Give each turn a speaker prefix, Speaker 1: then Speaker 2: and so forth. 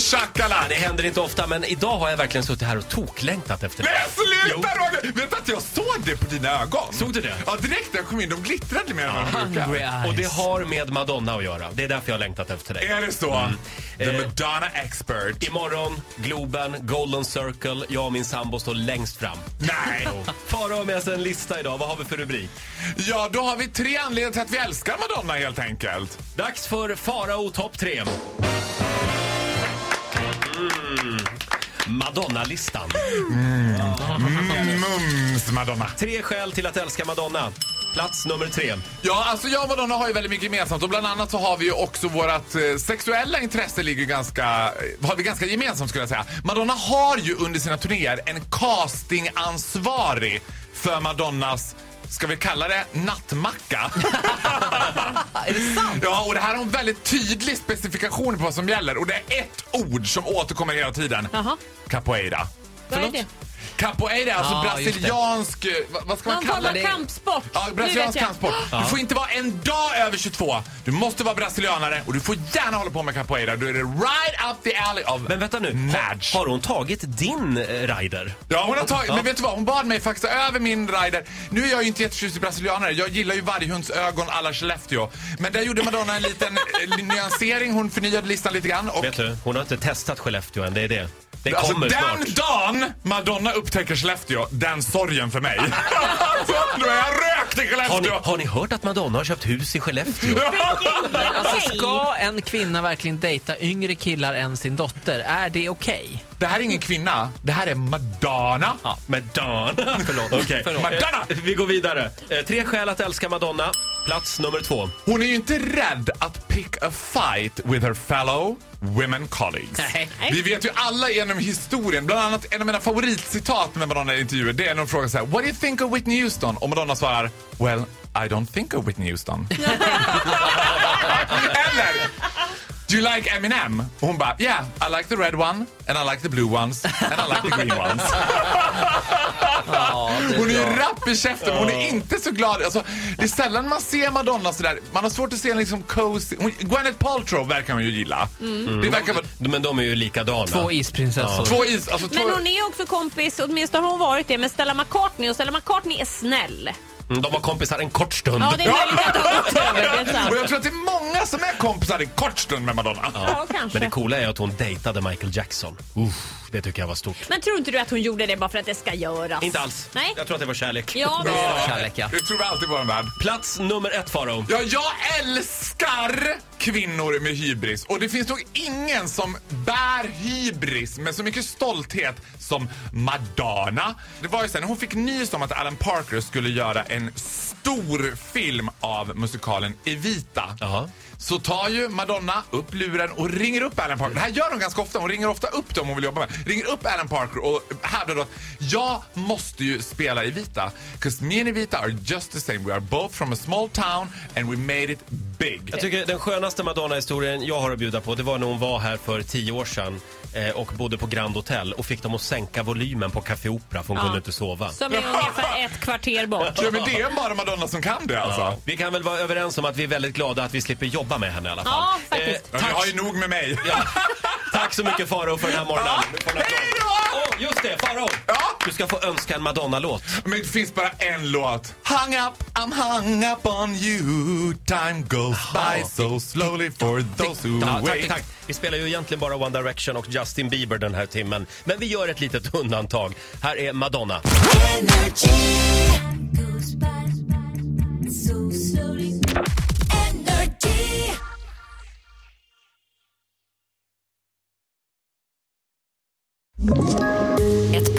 Speaker 1: shakalaka!
Speaker 2: Det händer inte ofta, men idag har jag verkligen suttit här och toklängtat efter
Speaker 1: Nej
Speaker 2: det.
Speaker 1: sluta Roger! Vet du att jag såg det på dina ögon?
Speaker 2: Såg du det?
Speaker 1: Ja direkt när jag kom in, de glittrade mer än vad de
Speaker 3: Hungry
Speaker 1: brukar.
Speaker 3: eyes.
Speaker 2: Och det har med Madonna att göra. Det är därför jag har längtat efter dig.
Speaker 1: Är det så?
Speaker 2: Mm.
Speaker 1: The
Speaker 2: Eh.
Speaker 1: Madonna expert.
Speaker 2: Imorgon, Globen, Golden Circle. Jag och min sambo står längst fram.
Speaker 1: Nej!
Speaker 2: Farao har med sig en lista idag. Vad har vi för rubrik?
Speaker 1: Ja, då har vi tre anledningar till att vi älskar Madonna helt enkelt.
Speaker 2: Dags för Farao topp 3. Mm. Madonna-listan.
Speaker 1: Mums Madonna.
Speaker 2: Tre skäl till att älska Madonna. Plats nummer tre.
Speaker 1: Ja, alltså jag och Madonna har ju väldigt mycket gemensamt och bland annat så har vi ju också vårat eh, sexuella intresse ligger ganska, eh, har vi ganska gemensamt skulle jag säga. Madonna har ju under sina turnéer en castingansvarig för Madonnas Ska vi kalla det nattmacka?
Speaker 3: Är det sant?
Speaker 1: Ja, och det här har en väldigt tydlig specifikation på vad som gäller. Och det är ett ord som återkommer hela tiden.
Speaker 3: Jaha.
Speaker 1: Capoeira.
Speaker 3: Vad är det?
Speaker 1: Capoeira, alltså
Speaker 3: Ja,
Speaker 1: brasiliansk... eh, vad- Vad ska man
Speaker 4: Man
Speaker 1: kalla
Speaker 4: kallar
Speaker 1: det?
Speaker 4: kampsport.
Speaker 1: Ja,
Speaker 4: Nu vet
Speaker 1: brasiliansk
Speaker 4: jag.
Speaker 1: kampsport. Du får inte vara en dag över 22. Du måste vara brasilianare och du får gärna hålla på med capoeira. Då är det right up the alley of
Speaker 2: Men vänta nu.
Speaker 1: Madge.
Speaker 2: Har, har hon tagit din eh, rider?
Speaker 1: Ja, hon har tagit, men vet du vad? Hon bad mig faxa över min rider. Nu är jag ju inte jättetjust i brasilianare. Jag gillar ju varghunds ögon alla Skellefteå. Men där gjorde Madonna en liten eh, nyansering. Hon förnyade listan lite grann. Och
Speaker 2: Vet du, hon har inte testat Skellefteå än. Det är det. Det
Speaker 1: Alltså,
Speaker 2: kommer
Speaker 1: den
Speaker 2: snart.
Speaker 1: dagen Madonna upptäcker Skellefteå, den sorgen för mig. alltså, då är jag rökt i
Speaker 2: Har ni,
Speaker 1: Skellefteå.
Speaker 2: har ni hört att Madonna har köpt hus i Skellefteå?
Speaker 3: Alltså, ska en kvinna verkligen dejta yngre killar än sin dotter? Är det okej?
Speaker 1: Det här är ingen kvinna, det här är Madonna.
Speaker 2: Ja, Madonna. Förlåt. Okay. Förlåt.
Speaker 1: Madonna!
Speaker 2: Eh, vi går vidare. Eh, tre skäl att älska Madonna. Plats nummer två.
Speaker 1: Hon är ju inte rädd att pick a fight with her fellow women colleagues.
Speaker 3: Nej.
Speaker 1: Vi vet ju alla genom historien, bland annat en av mina favoritcitat med Madonna i intervjuer, det är när hon frågar så här, What do you think of Whitney Houston? Och Madonna svarar, Well, I don't think of Whitney Houston. Eller, Do you like Eminem? Och hon bara, Yeah, I like the red one, and I like the blue ones, and I like the green ones. Hon är ju rapp i käften, men hon är inte så glad. Alltså, det är sällan man ser Madonna sådär. Man har svårt att se en liksom cozy... Hon- Gwyneth Paltrow verkar man ju gilla.
Speaker 4: Mm.
Speaker 1: Det verkar vara
Speaker 2: Men de är ju likadana.
Speaker 3: Två isprinsessor.
Speaker 1: två is... Alltså, två...
Speaker 4: Men hon är också kompis, åtminstone har hon varit det, med Stella McCartney och Stella McCartney är snäll.
Speaker 2: Mm, De var kompisar en kort stund.
Speaker 4: Ja, det är möjligt att hon gått över. Det är sant.
Speaker 1: Och jag tror att det är många som är kompisar en kort stund med Madonna.
Speaker 4: Ja,
Speaker 2: Men det
Speaker 4: kanske.
Speaker 2: coola är att hon dejtade Michael Jackson. Uff, det tycker jag var stort.
Speaker 4: Men tror inte du att hon gjorde det bara för att det ska göras?
Speaker 2: Inte alls.
Speaker 4: Nej.
Speaker 2: Jag tror att det var kärlek.
Speaker 4: Ja, precis.
Speaker 3: Kärlek, ja.
Speaker 1: Det tror vi alltid i vår värld.
Speaker 2: Plats nummer ett, Faro.
Speaker 1: Ja, jag älskar kvinnor med hybris. Och det finns nog ingen som bär hybris med så mycket stolthet som Madonna. Det var ju sen när hon fick nys om att Alan Parker skulle göra en stor film av musikalen Evita.
Speaker 2: Jaha.
Speaker 1: Så tar ju Madonna upp luren och ringer upp Alan Parker. Det här gör hon ganska ofta. Hon ringer ofta upp dem hon vill jobba med. Ringer upp Alan Parker och hävdar då att jag måste ju spela i Vita. 'Cause me and Evita are just the same. We are both from a small town and we made it big.
Speaker 2: Jag tycker den skönaste Madonna-historien jag har att bjuda på det var när hon var här för tio år sedan eh, och bodde på Grand Hotel och fick dem att sänka volymen på Café Opera för hon
Speaker 4: Ja.
Speaker 2: kunde inte sova.
Speaker 4: Som är ungefär ett kvarter bort.
Speaker 1: Ja, men det är bara Madonna som kan det alltså.
Speaker 2: Vi kan väl vara överens om att vi är väldigt glada att vi slipper jobba med henne i alla fall. Eh,
Speaker 4: Ja, faktiskt.
Speaker 1: Ja,
Speaker 2: tack,
Speaker 1: vi har ju nog med mig.
Speaker 2: ja, tack så mycket Faro för den här morgonen. Du får en applåd.
Speaker 1: Hej då!
Speaker 2: Åh, just det, Faro!
Speaker 1: Ja.
Speaker 2: Du ska få önska en Madonna-låt.
Speaker 1: Men det finns bara en låt. Hung up, I'm hung up on you. Time goes by so slowly for those who
Speaker 2: Ja, tack,
Speaker 1: wait.
Speaker 2: tack. Vi spelar ju egentligen bara One Direction och Justin Bieber den här timmen. Men vi gör ett litet undantag. Här är Madonna.
Speaker 5: Ett